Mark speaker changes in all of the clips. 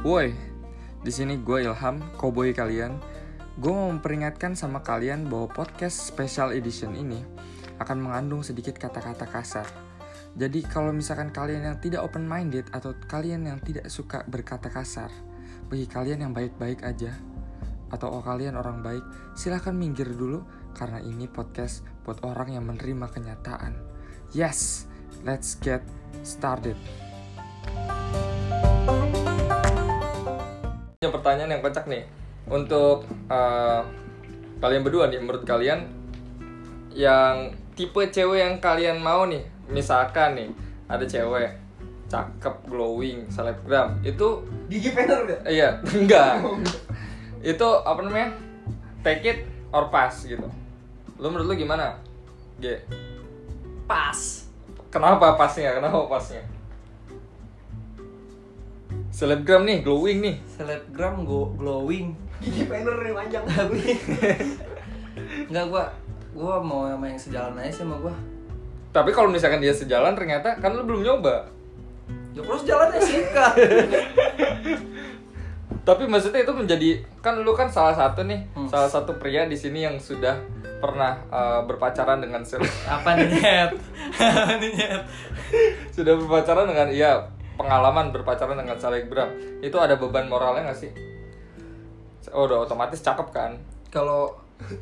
Speaker 1: Woi, di sini gue Ilham, koboi kalian. Gue mau memperingatkan sama kalian bahwa podcast special edition ini akan mengandung sedikit kata-kata kasar. Jadi kalau misalkan kalian yang tidak open minded atau kalian yang tidak suka berkata kasar, bagi kalian yang baik-baik aja atau kalian orang baik, silahkan minggir dulu karena ini podcast buat orang yang menerima kenyataan. Yes, let's get started. Yang pertanyaan yang kocak nih untuk eh, kalian berdua nih, menurut kalian yang tipe cewek yang kalian mau nih, misalkan nih ada cewek cakep, glowing, selebgram itu
Speaker 2: Gigi Penner udah.
Speaker 1: Iya, enggak. itu apa namanya? Take it or pass gitu. Lu menurut lu gimana? G.
Speaker 2: Pas.
Speaker 1: Kenapa pasnya? Kenapa pasnya? Selebgram nih, glowing nih.
Speaker 3: selebgram go glowing
Speaker 2: Gigi Penner nih panjang.
Speaker 3: nggak gua gua mau sama yang sejalan aja sih sama gua
Speaker 1: Tapi kalau misalkan dia sejalan ternyata kan lu belum nyoba.
Speaker 3: ya terus jalannya singkat
Speaker 1: Tapi maksudnya itu menjadi kan lu kan salah satu nih,
Speaker 3: Hmm.
Speaker 1: salah satu pria di sini yang sudah pernah eh, berpacaran dengan seleb
Speaker 3: apa nih nyet apa nih nyet
Speaker 1: sudah berpacaran dengan iya pengalaman berpacaran dengan selebgram itu ada beban moralnya nggak sih oh, udah otomatis cakep kan
Speaker 3: kalau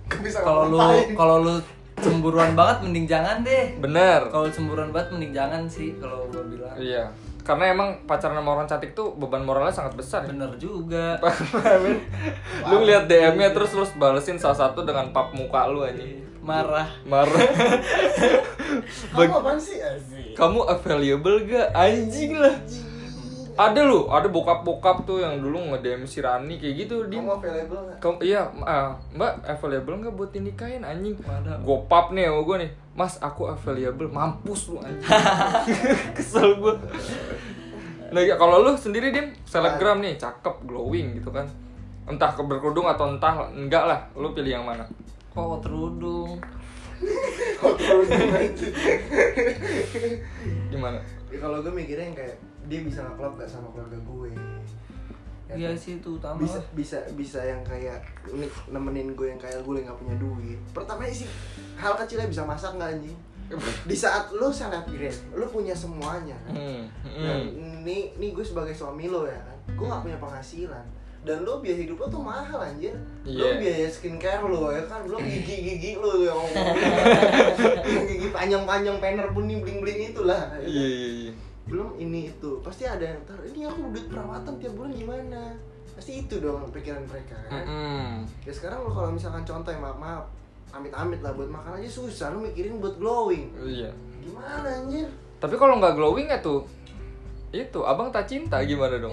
Speaker 2: Gak bisa
Speaker 3: kalau lu
Speaker 2: ngapain.
Speaker 3: kalau lu cemburuan banget mending jangan deh
Speaker 1: bener
Speaker 3: kalau cemburuan banget mending jangan sih kalau gua bilang
Speaker 1: iya karena emang pacaran sama orang cantik tuh beban moralnya sangat besar ya.
Speaker 3: bener juga
Speaker 1: lu ngeliat DM-nya terus terus balesin salah satu dengan pap muka lu aja
Speaker 3: marah
Speaker 1: marah
Speaker 2: Kamu apaan sih? Asik.
Speaker 1: kamu available gak anjing lah ada lu ada bokap-bokap tuh yang dulu nge-DM si Rani kayak gitu di
Speaker 2: Kamu available nggak?
Speaker 1: Kamu iya, ah, Mbak available nggak buat dinikahin anjing?
Speaker 3: Waduh.
Speaker 1: Gopap nih sama gue nih. Mas, aku available. Mampus lu anjing. Kesel gue. Nah, ya, kalau lu sendiri Dim, selebgram nih, cakep, glowing gitu kan. Entah ke- berkerudung atau entah enggak lah, lu pilih yang mana?
Speaker 3: kok terudung
Speaker 1: Gimana?
Speaker 2: Ya, kalau gue mikirnya yang kayak dia bisa ngeklop gak sama keluarga gue.
Speaker 3: iya
Speaker 2: kan?
Speaker 3: sih itu utama
Speaker 2: bisa bisa bisa yang kayak ini nemenin gue yang kayak gue yang nggak punya duit pertama sih hal kecilnya bisa masak nggak anjing di saat lu selebgram lu punya semuanya kan?
Speaker 1: Hmm,
Speaker 2: dan
Speaker 1: hmm.
Speaker 2: ini ini gue sebagai suami lo ya kan gue nggak punya penghasilan dan lo biaya hidup lo tuh mahal anjir lo
Speaker 1: Iya. Hmm.
Speaker 2: biaya skincare lo ya kan lo gigi gigi lo yang gigi panjang panjang penner pun nih bling bling itulah ya kan?
Speaker 1: Iya, iya, iya.
Speaker 2: belum ini itu pasti ada yang ntar ini aku duit perawatan tiap bulan gimana pasti itu dong pikiran mereka kan
Speaker 1: Mm-mm.
Speaker 2: ya sekarang lo kalau misalkan contoh ya, maaf maaf amit-amit lah buat makan aja susah lo mikirin buat glowing
Speaker 1: Iya.
Speaker 2: gimana anjir
Speaker 1: Tapi kalau nggak glowing ya tuh itu abang tak cinta gimana dong?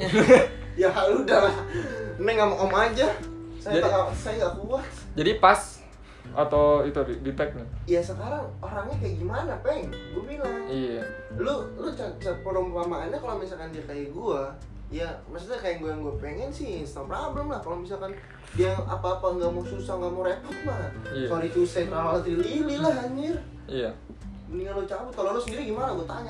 Speaker 2: ya udah lah neng sama om aja
Speaker 1: Jadi-
Speaker 2: saya tak- saya nggak kuat
Speaker 1: Jadi pas atau itu di, di tag nih?
Speaker 2: ya sekarang orangnya kayak gimana peng gue bilang
Speaker 1: Iya.
Speaker 2: lu lu ca- ca- perumpamaannya kalau misalkan dia kayak gua ya maksudnya kayak gue yang gue pengen sih instant problem lah kalau misalkan dia apa apa nggak mau susah nggak mau repot mah
Speaker 1: Iya.
Speaker 2: sorry to say terawal lili lah anjir
Speaker 1: Iya.
Speaker 2: mendingan lu cabut kalau lu sendiri gimana gue tanya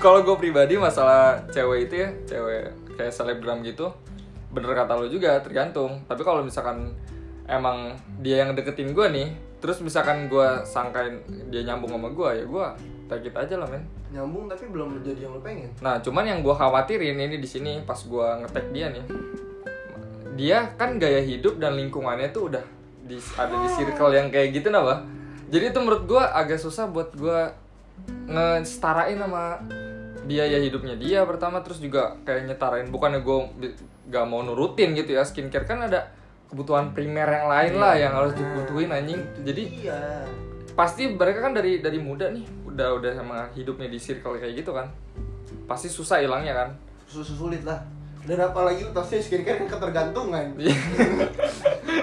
Speaker 1: Kalau gue pribadi masalah cewek itu ya, cewek kayak selebgram gitu, bener kata lo juga tergantung. Tapi kalau misalkan emang dia yang deketin gue nih, terus misalkan gue sangkain dia nyambung sama gue ya gue take it aja lah men.
Speaker 2: nyambung tapi belum jadi yang lu pengen
Speaker 1: Nah cuman yang gue khawatirin ini di sini pas gue ngetek dia nih, dia kan gaya hidup dan lingkungannya tuh udah di, ada di circle yang kayak gitu nah Bah. Jadi itu menurut gue agak susah buat gue ngesetarain sama biaya hidupnya dia pertama terus juga kayak nyetarain bukannya gue gak mau nurutin gitu ya skincare kan ada kebutuhan primer yang lain lah yang harus dibutuhin anjing jadi
Speaker 2: iya
Speaker 1: pasti mereka kan dari dari muda nih udah udah sama hidupnya di circle kayak gitu kan pasti susah hilangnya kan
Speaker 2: susu sulit lah dan apalagi lu tasnya skincare kan ketergantungan
Speaker 1: Iya.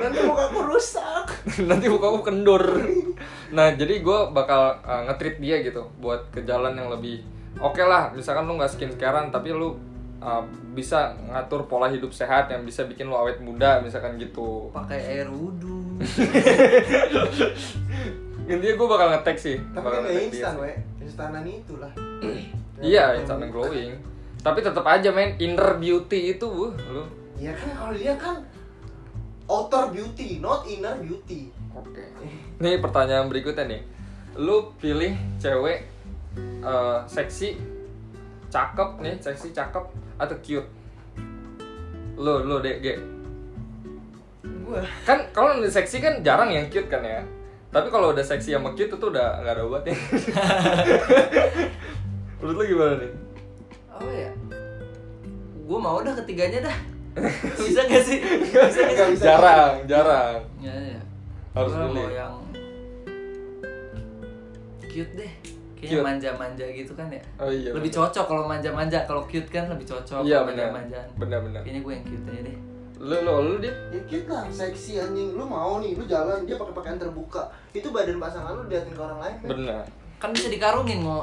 Speaker 2: nanti muka aku rusak
Speaker 1: nanti muka aku kendur nah jadi gue bakal uh, nge-treat dia gitu buat ke jalan yang lebih oke lah misalkan lu nggak skincarean tapi lu uh, bisa ngatur pola hidup sehat yang bisa bikin lu awet muda misalkan gitu
Speaker 3: pakai air wudhu
Speaker 1: intinya gue bakal ngetek sih
Speaker 2: tapi
Speaker 1: bakal
Speaker 2: kan gak
Speaker 1: ngetek dia
Speaker 2: instan
Speaker 1: sih.
Speaker 2: we instanan itulah
Speaker 1: iya instan and glowing Tapi tetap aja men inner beauty itu bu, lu.
Speaker 2: ya kan kalau dia kan outer beauty not inner beauty
Speaker 1: Oke. Nih pertanyaan berikutnya nih. Lu pilih cewek eh, seksi, cakep nih, seksi cakep atau cute? Lu lu deh, Ge.
Speaker 3: Gua
Speaker 1: Kan kalau udah seksi kan jarang yang cute kan ya. Tapi kalau udah seksi sama cute itu udah nggak ada obatnya. Menurut lu gimana nih?
Speaker 3: apa ya? Gua mau dah ketiganya dah. Bisa gak sih? Bisa gak
Speaker 2: Nggak
Speaker 3: sih?
Speaker 2: bisa.
Speaker 1: Jarang, jarang.
Speaker 3: Ya, ya.
Speaker 1: Harus
Speaker 3: Gua
Speaker 1: pilih.
Speaker 3: mau yang cute deh.
Speaker 1: Cute.
Speaker 3: Kayaknya manja-manja gitu kan ya.
Speaker 1: Oh iya.
Speaker 3: lebih cocok kalau manja-manja, kalau cute kan lebih cocok
Speaker 1: Iya
Speaker 3: kalau
Speaker 1: benar.
Speaker 3: manja-manjaan.
Speaker 1: Benar-benar.
Speaker 3: Kayaknya gue yang cute aja deh.
Speaker 1: Lu lu lu dia
Speaker 2: ya cute lah seksi anjing lu mau nih lu jalan dia pakai pakaian terbuka itu badan pasangan lu diliatin ke orang lain men.
Speaker 1: benar.
Speaker 3: Kan bisa dikarungin mau.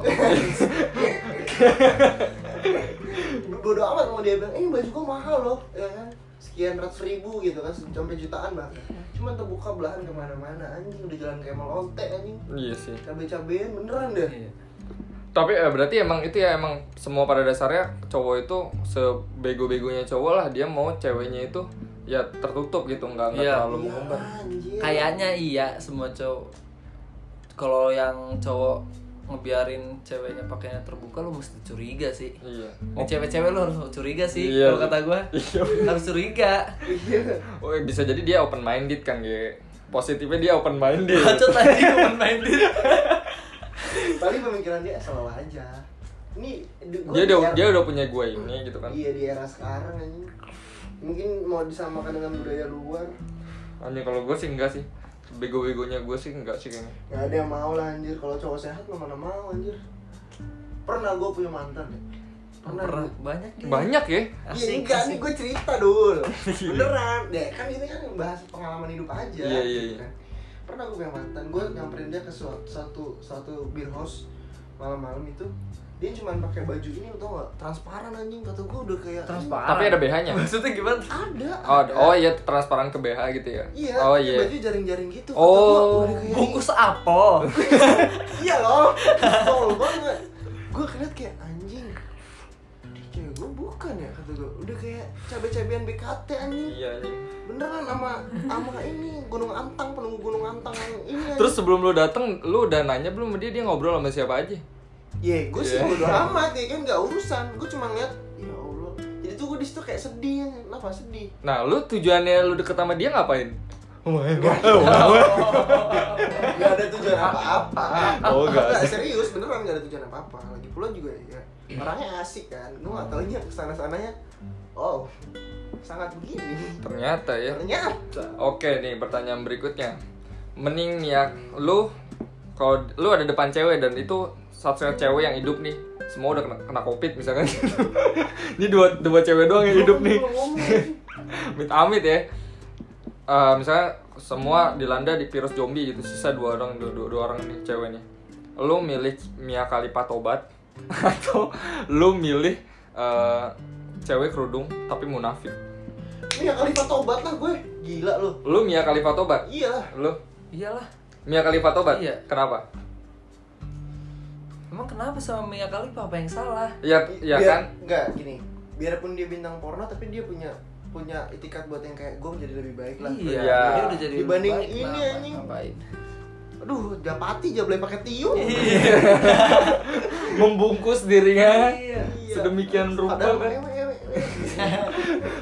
Speaker 2: bodo amat mau dia bilang eh ini baju gua mahal loh ya kan sekian ratus ribu gitu kan sampai jutaan bahkan
Speaker 1: Iya.
Speaker 2: cuma terbuka belahan kemana-mana anjing udah jalan kayak mall ontek anjing
Speaker 1: Iya sih.
Speaker 2: cabe-cabean beneran deh
Speaker 3: Iya.
Speaker 1: Tapi eh, berarti emang itu ya emang semua pada dasarnya cowok itu sebego-begonya cowok lah dia mau ceweknya itu ya tertutup gitu nggak nggak
Speaker 3: Iya.
Speaker 1: terlalu
Speaker 2: Iya,
Speaker 1: mengumbar.
Speaker 2: anjir.
Speaker 3: Kayaknya iya semua cowok. Kalau yang cowok ngebiarin ceweknya pakainya terbuka lu mesti curiga sih.
Speaker 1: Iya.
Speaker 3: Ini cewek-cewek lu harus curiga sih
Speaker 1: Iya.
Speaker 3: kalau kata gua.
Speaker 1: Iya.
Speaker 3: harus curiga.
Speaker 2: iya
Speaker 1: Oh, eh, bisa jadi dia open minded kan ya. Positifnya dia open minded.
Speaker 3: Bacot tadi main main
Speaker 2: tapi pemikiran dia salah aja ini du- gua
Speaker 1: Dia
Speaker 2: di
Speaker 1: udah
Speaker 2: era-
Speaker 1: dia udah punya gue ini gitu kan.
Speaker 2: iya di era sekarang anjing mungkin mau disamakan dengan budaya luar
Speaker 1: Hanya kalau gue sih enggak sih. Bego-begonya gue sih enggak sih kayaknya.
Speaker 2: nggak ada yang mau lah anjir kalau cowok sehat mah mana mau anjir pernah gua punya mantan ya pernah,
Speaker 3: Pernah
Speaker 2: gua-
Speaker 3: banyak dia.
Speaker 1: Banyak ya.
Speaker 2: Iya
Speaker 3: Asik,
Speaker 2: enggak nih
Speaker 3: asik.
Speaker 2: gue cerita dul Beneran Ya kan ini kan bahas pengalaman hidup aja
Speaker 1: Iya, iya,
Speaker 2: gitu
Speaker 1: iya.
Speaker 2: kan. Pernah gue punya mantan Gue nyamperin dia ke suatu, satu, satu beer house Malam-malam itu Dia cuma pakai baju ini tau gak Transparan anjing Kata gue udah kayak
Speaker 3: Transparan.
Speaker 1: Tapi ada BH-nya.
Speaker 3: Maksudnya gimana?
Speaker 2: Ada
Speaker 1: Oh,
Speaker 2: ada.
Speaker 1: oh iya transparan ke BH gitu ya.
Speaker 2: Iya
Speaker 1: Oh
Speaker 2: pakai
Speaker 1: iya.
Speaker 2: Baju jaring-jaring gitu Kata
Speaker 1: Oh,
Speaker 2: gua, udah kayak
Speaker 3: Bungkus apel.
Speaker 2: Iya loh Tol banget Gue keliat kayak anjing Dia cewek gue bukan ya Kata gue Udah kayak cabe-cabean BKT anjing
Speaker 1: Iya anjing.
Speaker 2: beneran sama sama ini gunung antang penunggu gunung antang yang ini
Speaker 1: Terus sebelum lu dateng, lu udah nanya belum sama dia dia ngobrol sama siapa aja?
Speaker 2: ya gue sih
Speaker 1: Iya.
Speaker 2: bodo amat ya kan gak urusan gue cuma ngeliat ya allah jadi tuh gue disitu kayak sedih kenapa sedih
Speaker 1: Nah, lu tujuannya lu deket sama dia ngapain? Oh, iya,
Speaker 2: gak ada tujuan apa-apa
Speaker 1: Oh, nggak ada.
Speaker 2: Nggak, serius beneran gak ada tujuan apa-apa lagi pula juga ya orangnya asik kan gue gak taunya kesana sananya oh sangat begini
Speaker 1: Ternyata ya.
Speaker 2: ternyata
Speaker 1: Oke nih pertanyaan berikutnya. Mending nih ya lu kalau lu ada depan cewek dan itu satu cewek yang hidup nih semua udah kena, kena covid misalkan ini dua dua cewek doang yang hidup nih amit amit ya Eh, misalnya semua dilanda di virus zombie gitu sisa dua orang dua, dua, dua orang nih cewek nih lu milih Mia Khalifa tobat atau lu milih eh, cewek kerudung tapi munafik
Speaker 2: ini yang kali tobat lah gue gila Iya lo
Speaker 1: lu Mia Khalifa tobat
Speaker 2: iyalah
Speaker 1: lu
Speaker 3: Iyalah.
Speaker 1: Mia Khalifa tobat
Speaker 3: Iya.
Speaker 1: kenapa
Speaker 3: Emang kenapa sama Mia Khalifa apa yang salah?
Speaker 1: ya ya
Speaker 2: Biar-
Speaker 1: kan
Speaker 2: Enggak, gini. Biarpun dia bintang porno tapi dia punya punya itikat buat yang kayak gue menjadi lebih baik lah.
Speaker 1: Iya.
Speaker 3: Dia udah jadi
Speaker 2: Dibanding
Speaker 3: lebih baik,
Speaker 2: ini,
Speaker 3: kenapa?
Speaker 2: anjing.
Speaker 3: Ngapain?
Speaker 2: Aduh, japati aja boleh pakai tiung.
Speaker 1: Iya. membungkus dirinya
Speaker 3: Iya.
Speaker 2: Iya.
Speaker 1: sedemikian rupa
Speaker 2: Padahal iya.
Speaker 1: kan
Speaker 2: ewe, ewe, ewe.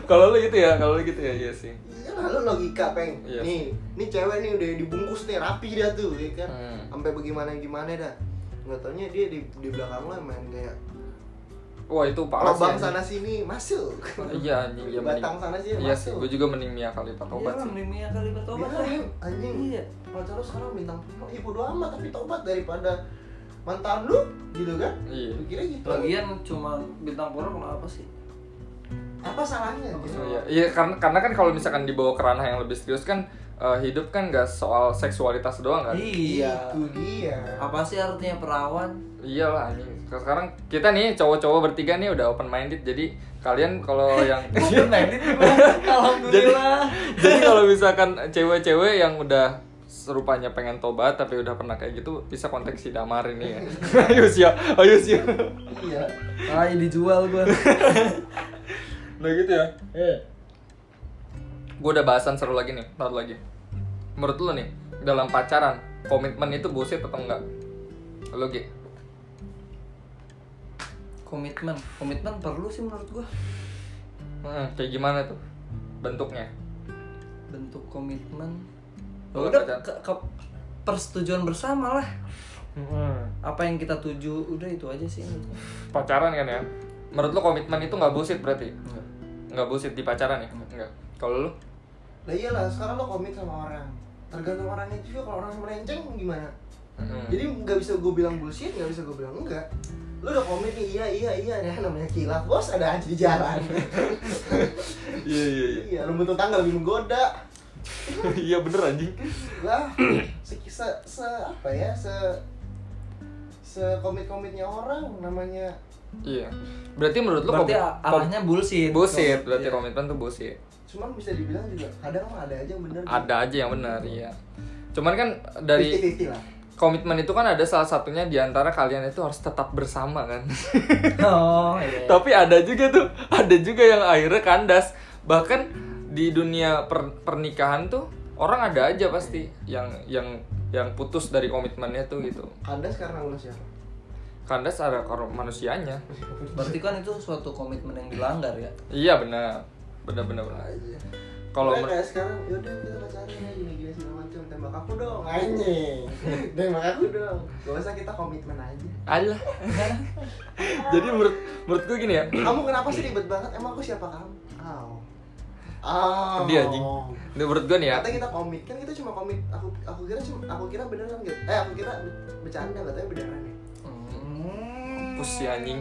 Speaker 1: kalau lu gitu ya kalau lu gitu ya iya sih
Speaker 2: Iya lah, lu logika peng.
Speaker 1: Iya.
Speaker 2: Nih, nih cewek nih udah dibungkus nih rapi dia tuh, ya kan.
Speaker 1: Hmm.
Speaker 2: Sampai bagaimana gimana dah. Nggak taunya dia di, di belakang lo main kayak
Speaker 1: wah itu parah sih
Speaker 2: lubang
Speaker 1: anjing.
Speaker 2: sana sini masuk.
Speaker 1: iya anjing ya mending
Speaker 2: Batang sana sini
Speaker 1: iya sih
Speaker 2: masuk.
Speaker 1: gue juga mending Mia Khalifa tobat
Speaker 3: Iyalah,
Speaker 1: sih
Speaker 3: mending Mia Khalifa tobat
Speaker 2: Iya,
Speaker 3: lah.
Speaker 2: Im. anjing.
Speaker 3: Iya.
Speaker 2: Pacar lu sekarang bintang porno, ibu doa amat tapi tobat daripada mantan lu gitu kan?
Speaker 1: Iya.
Speaker 2: Gua Kira gitu.
Speaker 3: Lagian cuma bintang porno kenapa sih?
Speaker 2: Apa salahnya?
Speaker 3: Apa
Speaker 2: gitu?
Speaker 1: Iya, iya karena karena kan kalau misalkan dibawa ke ranah yang lebih serius kan eh, hidup kan gak soal seksualitas doang kan.
Speaker 2: Iya. Itu
Speaker 3: Iya.
Speaker 2: dia.
Speaker 3: Apa sih artinya perawan?
Speaker 1: Iyalah anjing. Sekarang kita nih cowok-cowok bertiga nih udah open minded jadi kalian kalau yang
Speaker 2: Iya,
Speaker 3: Gue nih gua. Alhamdulillah.
Speaker 1: Jadi kalau misalkan cewek-cewek yang udah rupanya pengen tobat tapi udah pernah kayak gitu bisa kontak si Damar ini ya. ayo sih, ya, ayo sih. ya.
Speaker 3: iya makanya dijual gua
Speaker 1: Udah gitu ya. Gue udah bahasan seru lagi nih, taruh lagi. Menurut lo nih, dalam pacaran, komitmen itu bullshit atau enggak? Lo Gi?
Speaker 3: komitmen komitmen perlu sih menurut gua
Speaker 1: Hmm, kayak gimana tuh bentuknya?
Speaker 3: bentuk komitmen Ya
Speaker 1: Kalau
Speaker 3: udah
Speaker 1: pacar.
Speaker 3: ke, ke- persetujuan bersama lah apa yang kita tuju udah itu aja sih menurut gua.
Speaker 1: Hmm, Pacaran kan ya? Menurut lo komitmen itu nggak bullshit berarti?
Speaker 3: Enggak.
Speaker 1: Nggak bullshit di pacaran ya? Enggak. Kalau lo?
Speaker 2: Lah iyalah, sekarang lo komit sama orang. Tergantung orangnya juga kalau orang melenceng gimana. Jadi nggak bisa gue bilang bullshit, nggak bisa gue bilang enggak. Lo udah komit nih, iya iya iya, ya namanya kilat bos, ada aja di jalan.
Speaker 1: Iya iya
Speaker 2: iya, rumput tetangga lebih menggoda.
Speaker 1: Iya bener anjing.
Speaker 2: Lah, se, se, se apa ya, se se komit komitnya orang namanya
Speaker 1: Iya. Berarti menurut lo
Speaker 3: berarti
Speaker 1: komit- kom-
Speaker 3: arahnya bullshit
Speaker 1: bullshit berarti
Speaker 3: Iya.
Speaker 1: komitmen tuh bullshit
Speaker 2: cuman bisa dibilang juga kadang mah ada aja yang bener gitu.
Speaker 1: ada aja yang benar iya cuman kan dari
Speaker 2: 50-50 lah
Speaker 1: komitmen itu kan ada salah satunya diantara kalian itu harus tetap bersama kan
Speaker 3: oh iya
Speaker 1: tapi ada juga tuh ada juga yang akhirnya kandas bahkan di dunia per- pernikahan tuh orang ada aja pasti yang yang yang putus dari komitmennya tuh gitu
Speaker 2: kandas karena ulah siapa
Speaker 1: kandas ada kor- manusianya
Speaker 3: berarti kan itu suatu komitmen yang dilanggar ya
Speaker 1: iya benar benar benar benar.
Speaker 2: aja
Speaker 1: kalau
Speaker 2: Nah,
Speaker 1: men-
Speaker 2: kayak sekarang yaudah kita pacaran ya gini gini segala macam tembak aku dong anjing tembak aku dong gak usah kita komitmen aja
Speaker 1: alah jadi menurut menurut gue gini ya
Speaker 2: kamu kenapa sih ribet banget emang aku siapa kamu aw aw
Speaker 1: dia anjing Ini menurut gue nih ya
Speaker 2: kata kita komit kan kita cuma komit aku aku kira cuma aku kira beneran gitu eh aku kira be- bercanda katanya beneran ya
Speaker 1: Mampus si anjing.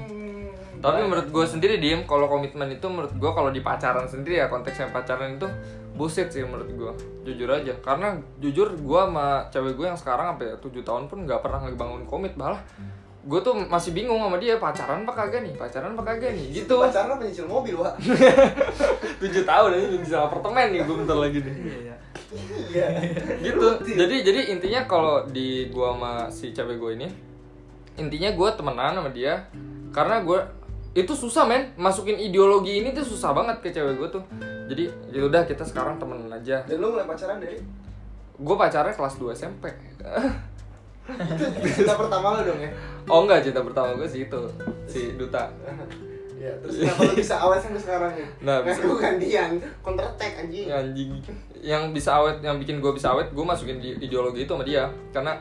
Speaker 1: Tapi menurut gue sendiri diem kalau komitmen itu menurut gue kalau di pacaran sendiri ya konteksnya pacaran itu buset sih menurut gue jujur aja karena jujur gue sama cewek gue yang sekarang sampai tujuh tahun pun nggak pernah ngebangun komit malah gue tuh masih bingung sama dia pacaran apa kagak nih pacaran apa kagak nih gitu
Speaker 2: pacaran apa nyicil mobil wah
Speaker 1: tujuh tahun aja belum bisa apartemen nih gue bentar lagi nih
Speaker 3: iya iya
Speaker 2: iya
Speaker 1: gitu jadi jadi intinya kalau di gua sama si cewek gue ini intinya gua temenan sama dia karena gua itu susah men masukin ideologi ini tuh susah banget ke cewek gue tuh jadi ya udah kita sekarang temenan aja
Speaker 2: dan lu mulai pacaran dari
Speaker 1: gue pacarnya kelas 2 SMP
Speaker 2: itu cinta pertama lo dong ya
Speaker 1: oh enggak cinta pertama gue sih itu si duta
Speaker 2: Ya, terus kenapa lo bisa awet sampai sekarang ya? nih?
Speaker 1: Iya, Nah, bisa.
Speaker 2: Aku gantian, counter attack anjing.
Speaker 1: Ya, anjing yang bisa awet yang bikin gue bisa awet gue masukin di ideologi itu sama dia karena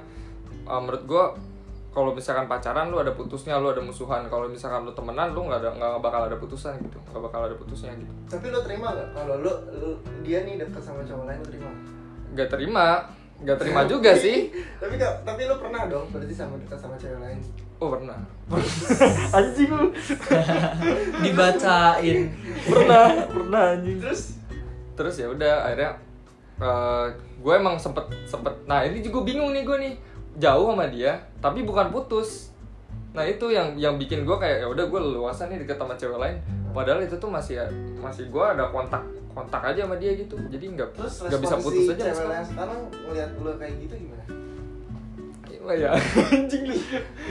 Speaker 1: uh, menurut gue kalau misalkan pacaran lu ada putusnya lu ada musuhan kalau misalkan lu temenan lu nggak ada nggak bakal ada putusan gitu nggak bakal ada putusnya gitu
Speaker 2: Tapi lo terima gak kalau lo, lo dia nih deket sama cowok lain lo terima?
Speaker 1: nggak terima nggak terima juga sih
Speaker 2: tapi nggak- tapi lo pernah dong berarti sama deket sama cewek lain.
Speaker 1: oh pernah anjing lu
Speaker 3: dibacain
Speaker 1: pernah pernah anjing
Speaker 2: Terus
Speaker 1: terus ya udah akhirnya gue emang sempet sempet nah ini juga bingung nih gue nih jauh sama dia tapi bukan putus nah itu yang yang bikin gue kayak ya udah gue leluasa nih deket sama cewek lain padahal itu tuh masih masih gue ada kontak kontak aja sama dia gitu jadi nggak
Speaker 2: terus
Speaker 1: nggak bisa
Speaker 2: respon
Speaker 1: putus
Speaker 2: si
Speaker 1: aja
Speaker 2: cewek
Speaker 1: sekarang.
Speaker 2: lain sekarang ngeliat lo kayak gitu gimana?
Speaker 1: Gila ya anjing lu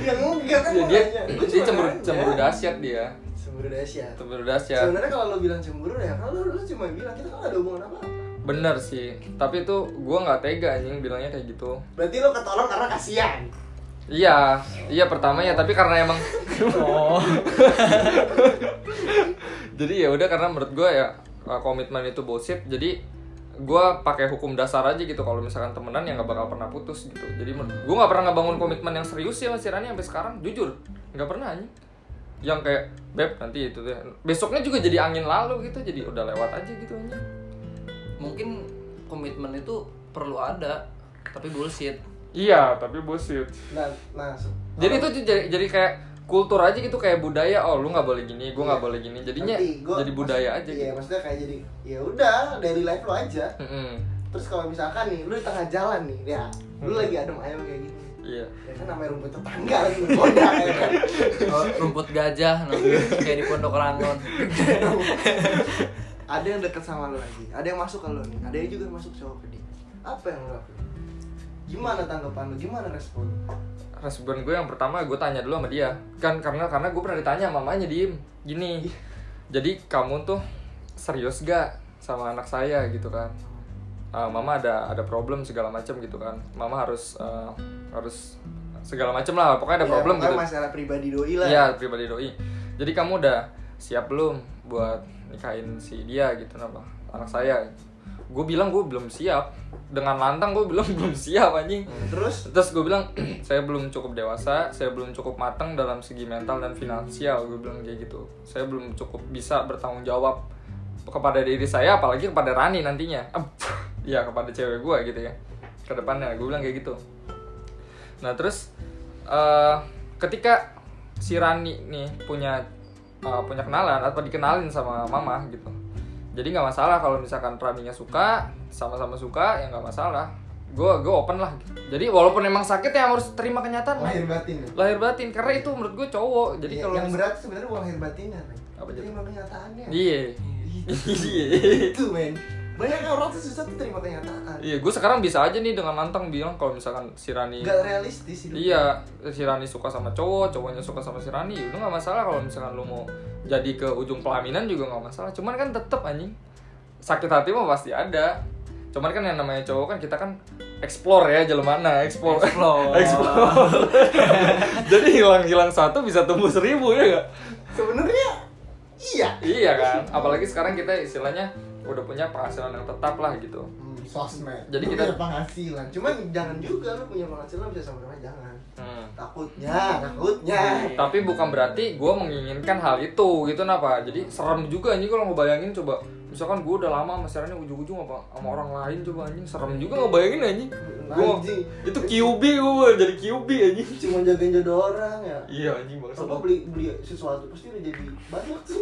Speaker 2: Iya enggak kan
Speaker 1: ya,
Speaker 2: gua
Speaker 1: dia
Speaker 2: nanya. Gua
Speaker 1: dia
Speaker 2: cuma
Speaker 1: cemburu
Speaker 2: nanya.
Speaker 1: cemburu dahsyat dia
Speaker 2: Cemburu dahsyat.
Speaker 1: cemburu dahsyat
Speaker 2: Sebenarnya kalau lo bilang cemburu ya, kalau lo cuma bilang kita kan nggak ada hubungan apa.
Speaker 1: bener sih tapi itu gue nggak tega anjing bilangnya kayak gitu
Speaker 2: Berarti lo ketolong karena kasihan.
Speaker 1: Iya, iya pertamanya tapi karena emang
Speaker 3: oh
Speaker 1: jadi ya udah karena menurut gue ya eh, komitmen itu bullshit jadi gue pakai hukum dasar aja gitu kalau misalkan temenan ya nggak bakal pernah putus gitu jadi gue nggak pernah ngebangun komitmen yang serius ya Mas Irani sampai sekarang jujur nggak pernah anjing yang kayak beb nanti itu deh besoknya juga jadi angin lalu gitu jadi udah lewat aja gitu anjing
Speaker 3: mungkin komitmen itu perlu ada tapi bullshit
Speaker 1: iya tapi bullshit
Speaker 2: Nah, nah. se-
Speaker 1: jadi itu tuh jadi, jadi kayak kultur aja gitu kayak budaya oh lu nggak boleh gini gue nggak
Speaker 2: Iya.
Speaker 1: boleh gini jadinya
Speaker 2: Nanti gua-
Speaker 1: jadi budaya
Speaker 2: maksud-
Speaker 1: aja
Speaker 2: iya
Speaker 1: gitu
Speaker 2: maksudnya kayak jadi ya udah dari life lo aja
Speaker 1: Mm-mm.
Speaker 2: terus kalau misalkan nih lu di tengah jalan nih ya lu lagi adem ayem kayak gitu
Speaker 1: iya
Speaker 2: ya kan namanya rumput tetangga lagi menggoda ya kan
Speaker 3: Oh, rumput gajah namanya kayak di pondok rangon
Speaker 2: ada yang deket sama lu lagi ada yang masuk ke lu nih ada yang juga masuk cowok ke dia apa yang lu lakuin gimana tanggapan lu gimana respon lu?
Speaker 1: respon gue yang pertama gue tanya dulu sama dia kan karena karena gue pernah ditanya sama mamanya diem gini
Speaker 2: Iya.
Speaker 1: jadi kamu tuh serius gak sama anak saya gitu kan "Ah, mama ada ada problem segala macam gitu kan mama harus eh, harus segala macam lah pokoknya ada
Speaker 2: Ya,
Speaker 1: problem
Speaker 2: pokoknya
Speaker 1: gitu
Speaker 2: masalah pribadi doi lah
Speaker 1: Iya pribadi doi. Jadi kamu udah siap belum buat nikahin si dia gitu nama anak saya? Gue bilang gue belum siap. Dengan lantang gue bilang belum siap anjing.
Speaker 2: terus
Speaker 1: Terus gue bilang saya belum cukup dewasa, saya belum cukup matang dalam segi mental dan finansial. Gue bilang kayak gitu. Saya belum cukup bisa bertanggung jawab kepada diri saya, apalagi kepada Rani nantinya. Iya kepada cewek gue gitu ya. Kedepannya gue bilang kayak gitu. Nah terus eh, ketika si Rani nih punya eh, punya kenalan atau dikenalin sama mama gitu. Jadi nggak masalah kalau misalkan Raninya suka, sama-sama suka ya nggak masalah. Gue gue open lah. gitu. Jadi walaupun emang sakit ya harus terima kenyataan. Lahir,
Speaker 2: lahir batin ya?
Speaker 1: batin karena itu menurut gue cowok. Jadi
Speaker 2: Iya,
Speaker 1: kalau
Speaker 2: yang
Speaker 1: mis-
Speaker 2: berat sebenarnya bukan lahir batinnya men.
Speaker 1: Apa jadi?
Speaker 2: terima kenyataannya
Speaker 1: Iya. Iya.
Speaker 2: itu men banyak orang tuh susah tuh terima kenyataan
Speaker 1: Iya, gue sekarang bisa aja nih dengan lantang bilang kalau misalkan si Rani
Speaker 2: nggak realistis hidup
Speaker 1: Iya, si Rani suka sama cowok, cowoknya suka sama si Rani, itu nggak masalah kalau misalkan lu mau jadi ke ujung pelaminan juga nggak masalah. Cuman kan tetep anjing sakit hati mah pasti ada. Cuman kan yang namanya cowok kan kita kan explore ya jalan mana explore
Speaker 3: Explore.
Speaker 1: Explore. jadi hilang hilang satu bisa tumbuh seribu ya gak?
Speaker 2: sebenarnya iya
Speaker 1: Iya kan, apalagi sekarang kita istilahnya udah punya penghasilan yang tetap lah gitu.
Speaker 2: hmm, sosmed
Speaker 1: Jadi
Speaker 2: Lu
Speaker 1: kita-
Speaker 2: punya penghasilan cuman jangan juga lu punya penghasilan bisa sama orang lain, jangan
Speaker 1: Hmm.
Speaker 2: takutnya takutnya
Speaker 1: tapi bukan berarti gue menginginkan hal itu gitu napa jadi serem juga anjing kalau ngebayangin coba misalkan gue udah lama masalahnya ujung-ujung apa sama orang lain coba anjing serem juga ngebayangin anjing gue
Speaker 2: Anjing.
Speaker 1: itu QB gue jadi QB anjing
Speaker 2: cuma jagain jodoh orang ya
Speaker 1: iya anjing banget
Speaker 2: Coba beli beli sesuatu pasti udah jadi banyak sih.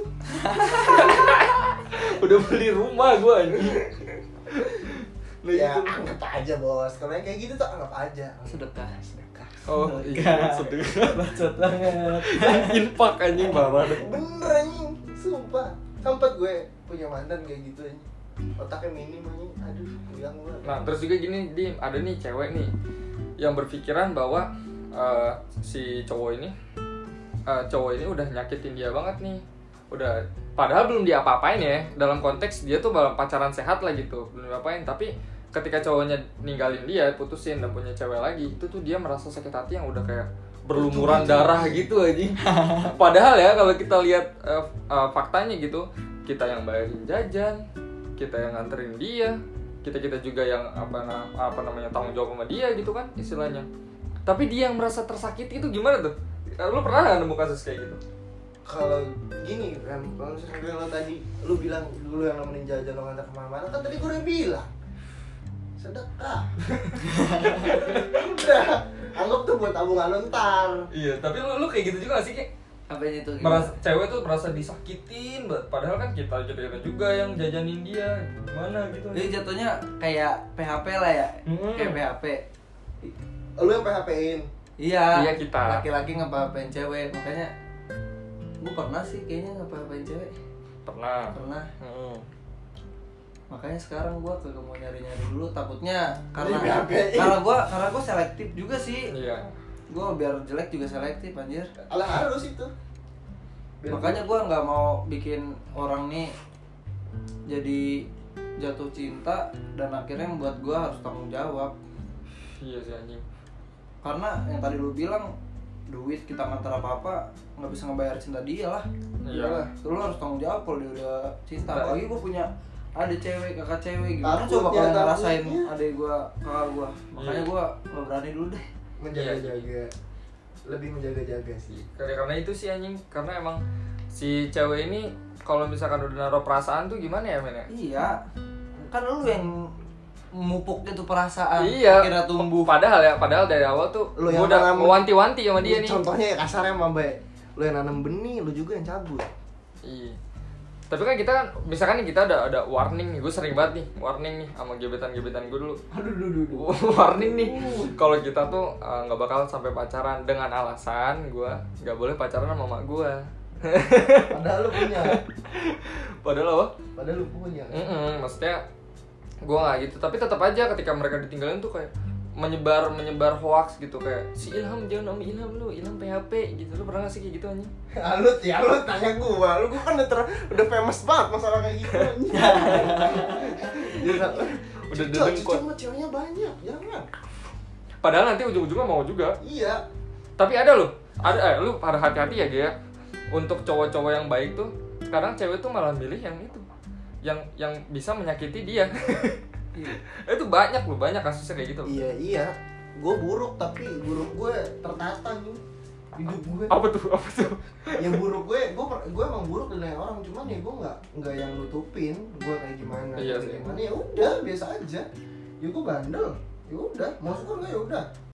Speaker 1: udah beli rumah gue anjing Nah,
Speaker 2: ya
Speaker 1: gitu.
Speaker 2: anggap aja bos. Kalau yang kayak gitu tuh anggap aja.
Speaker 3: sedekah
Speaker 1: oh iya sedih
Speaker 3: bacot banget
Speaker 1: infak anjing parah deh.
Speaker 2: Bener anjing, sumpah. Tempat gue punya mantan kayak gitu anjing. Otaknya minim anjing. Aduh, bilang gue.
Speaker 1: Nah terus juga gini, di ada nih cewek nih yang berpikiran bahwa eh, si cowok ini, eh, cowok ini udah nyakitin dia banget nih, udah padahal belum dia apa-apain ya dalam konteks dia tuh dalam pacaran sehat lah gitu belum apain tapi ketika cowoknya ninggalin dia putusin dan punya cewek lagi itu tuh dia merasa sakit hati yang udah kayak berlumuran darah gitu anjing padahal ya kalau kita lihat eh, eh, faktanya gitu kita yang bayarin jajan kita yang nganterin dia kita kita juga yang apa na- apa namanya tanggung jawab sama dia gitu kan istilahnya tapi dia yang merasa tersakiti itu gimana tuh Eh, lu pernah nggak nemu kasus kayak gitu
Speaker 2: Kalau gini, Ram, kalau misalnya lo tadi lu bilang dulu yang nemenin jajan lo ngantar kemana-mana kan tadi gue udah bilang sedekah. udah, anggap tuh buat tabungan lo ntar.
Speaker 1: iya tapi lu, lu kayak gitu juga gak sih kayak
Speaker 3: apa itu gitu?
Speaker 1: merasa cewek tuh merasa disakitin banget. padahal kan kita kita kita juga yang jajanin dia gimana gitu
Speaker 3: Jadi jatuhnya kayak PHP lah ya,
Speaker 1: Mm.
Speaker 3: kayak PHP. I-
Speaker 2: Lu yang PHP-in.
Speaker 3: Iya.
Speaker 1: Iya, kita.
Speaker 3: Laki-laki ngepapain cewek, makanya gue pernah sih kayaknya ngepapain cewek,
Speaker 1: pernah
Speaker 3: pernah.
Speaker 1: Heeh.
Speaker 3: Makanya sekarang gue kagak mau nyari-nyari dulu, takutnya karena
Speaker 2: Di PHP-in.
Speaker 3: karena gue karena gue selektif juga sih.
Speaker 1: iya
Speaker 3: Gue biar jelek juga selektif anjir.
Speaker 2: Alah harus itu. Biar-
Speaker 3: Makanya gue nggak mau bikin orang nih jadi jatuh cinta dan akhirnya membuat gue harus tanggung jawab.
Speaker 1: iya sih anjing
Speaker 3: karena yang tadi lu bilang duit kita ngantar apa apa nggak bisa ngebayar cinta dia lah
Speaker 1: Iya.
Speaker 3: Iyalah, lu harus tanggung jawab kalau dia udah cinta
Speaker 1: Cinta.
Speaker 3: apalagi gue punya ada cewek kakak cewek gimana
Speaker 2: Takutnya,
Speaker 3: coba kalau
Speaker 2: takutnya.
Speaker 3: ngerasain adek gue kakak gue makanya
Speaker 1: Iya.
Speaker 3: gue nggak berani dulu deh
Speaker 2: menjaga-jaga lebih menjaga-jaga sih
Speaker 1: karena karena itu sih anjing karena emang si cewek ini kalau misalkan udah naruh perasaan tuh gimana ya men ya?
Speaker 3: iya kan lu yang memupuk itu perasaan
Speaker 1: iya
Speaker 3: kira tumbuh
Speaker 1: padahal ya padahal dari awal tuh
Speaker 2: Ah, Lu
Speaker 1: lu
Speaker 2: yang
Speaker 1: udah
Speaker 2: mengalami-
Speaker 1: mewanti-wanti sama dia nih
Speaker 2: contohnya ya kasarnya sama Mbak lu yang nanam benih lu juga yang cabut
Speaker 1: iya tapi kan kita kan misalkan nih kita ada ada warning nih gue sering banget nih warning nih sama gebetan-gebetan gue dulu
Speaker 2: aduh aduh aduh
Speaker 1: warning nih kalau kita tuh eh, nggak bakal sampai pacaran dengan alasan gue nggak boleh pacaran sama mak gue
Speaker 2: padahal lu punya
Speaker 1: padahal apa
Speaker 2: padahal lu punya kan?
Speaker 1: Mm-mm, maksudnya gue nggak gitu tapi tetap aja ketika mereka ditinggalin tuh kayak menyebar menyebar hoax gitu kayak si Ilham jangan sama Ilham lu Ilham PHP gitu lu pernah gak sih kayak gitu anjing
Speaker 2: Alut ya lu tanya gua, lu gua kan udah, ter- udah famous banget masalah kayak gitu.
Speaker 1: Udah
Speaker 2: Udah
Speaker 1: dedengkot.
Speaker 2: Cucu mah ceweknya banyak, jangan.
Speaker 1: padahal nanti ujung-ujungnya mau juga
Speaker 2: Iya.
Speaker 1: tapi ada loh ada eh, lu pada hati-hati ya Gia untuk cowok-cowok yang baik tuh kadang cewek tuh malah milih yang itu yang yang bisa menyakiti dia itu banyak loh banyak kasusnya kayak gitu loh.
Speaker 2: Iya, iya. Gua buruk tapi buruk gue tertata gitu. Hidup gue.
Speaker 1: apa tuh apa tuh
Speaker 2: yang buruk gue gue per- gue emang buruk dengan orang cuman ya gue nggak nggak yang nutupin gue kayak gimana
Speaker 1: Iya
Speaker 2: kayak
Speaker 1: sih.
Speaker 2: gimana ya udah biasa aja ya gue bandel ya udah mau suka nggak ya udah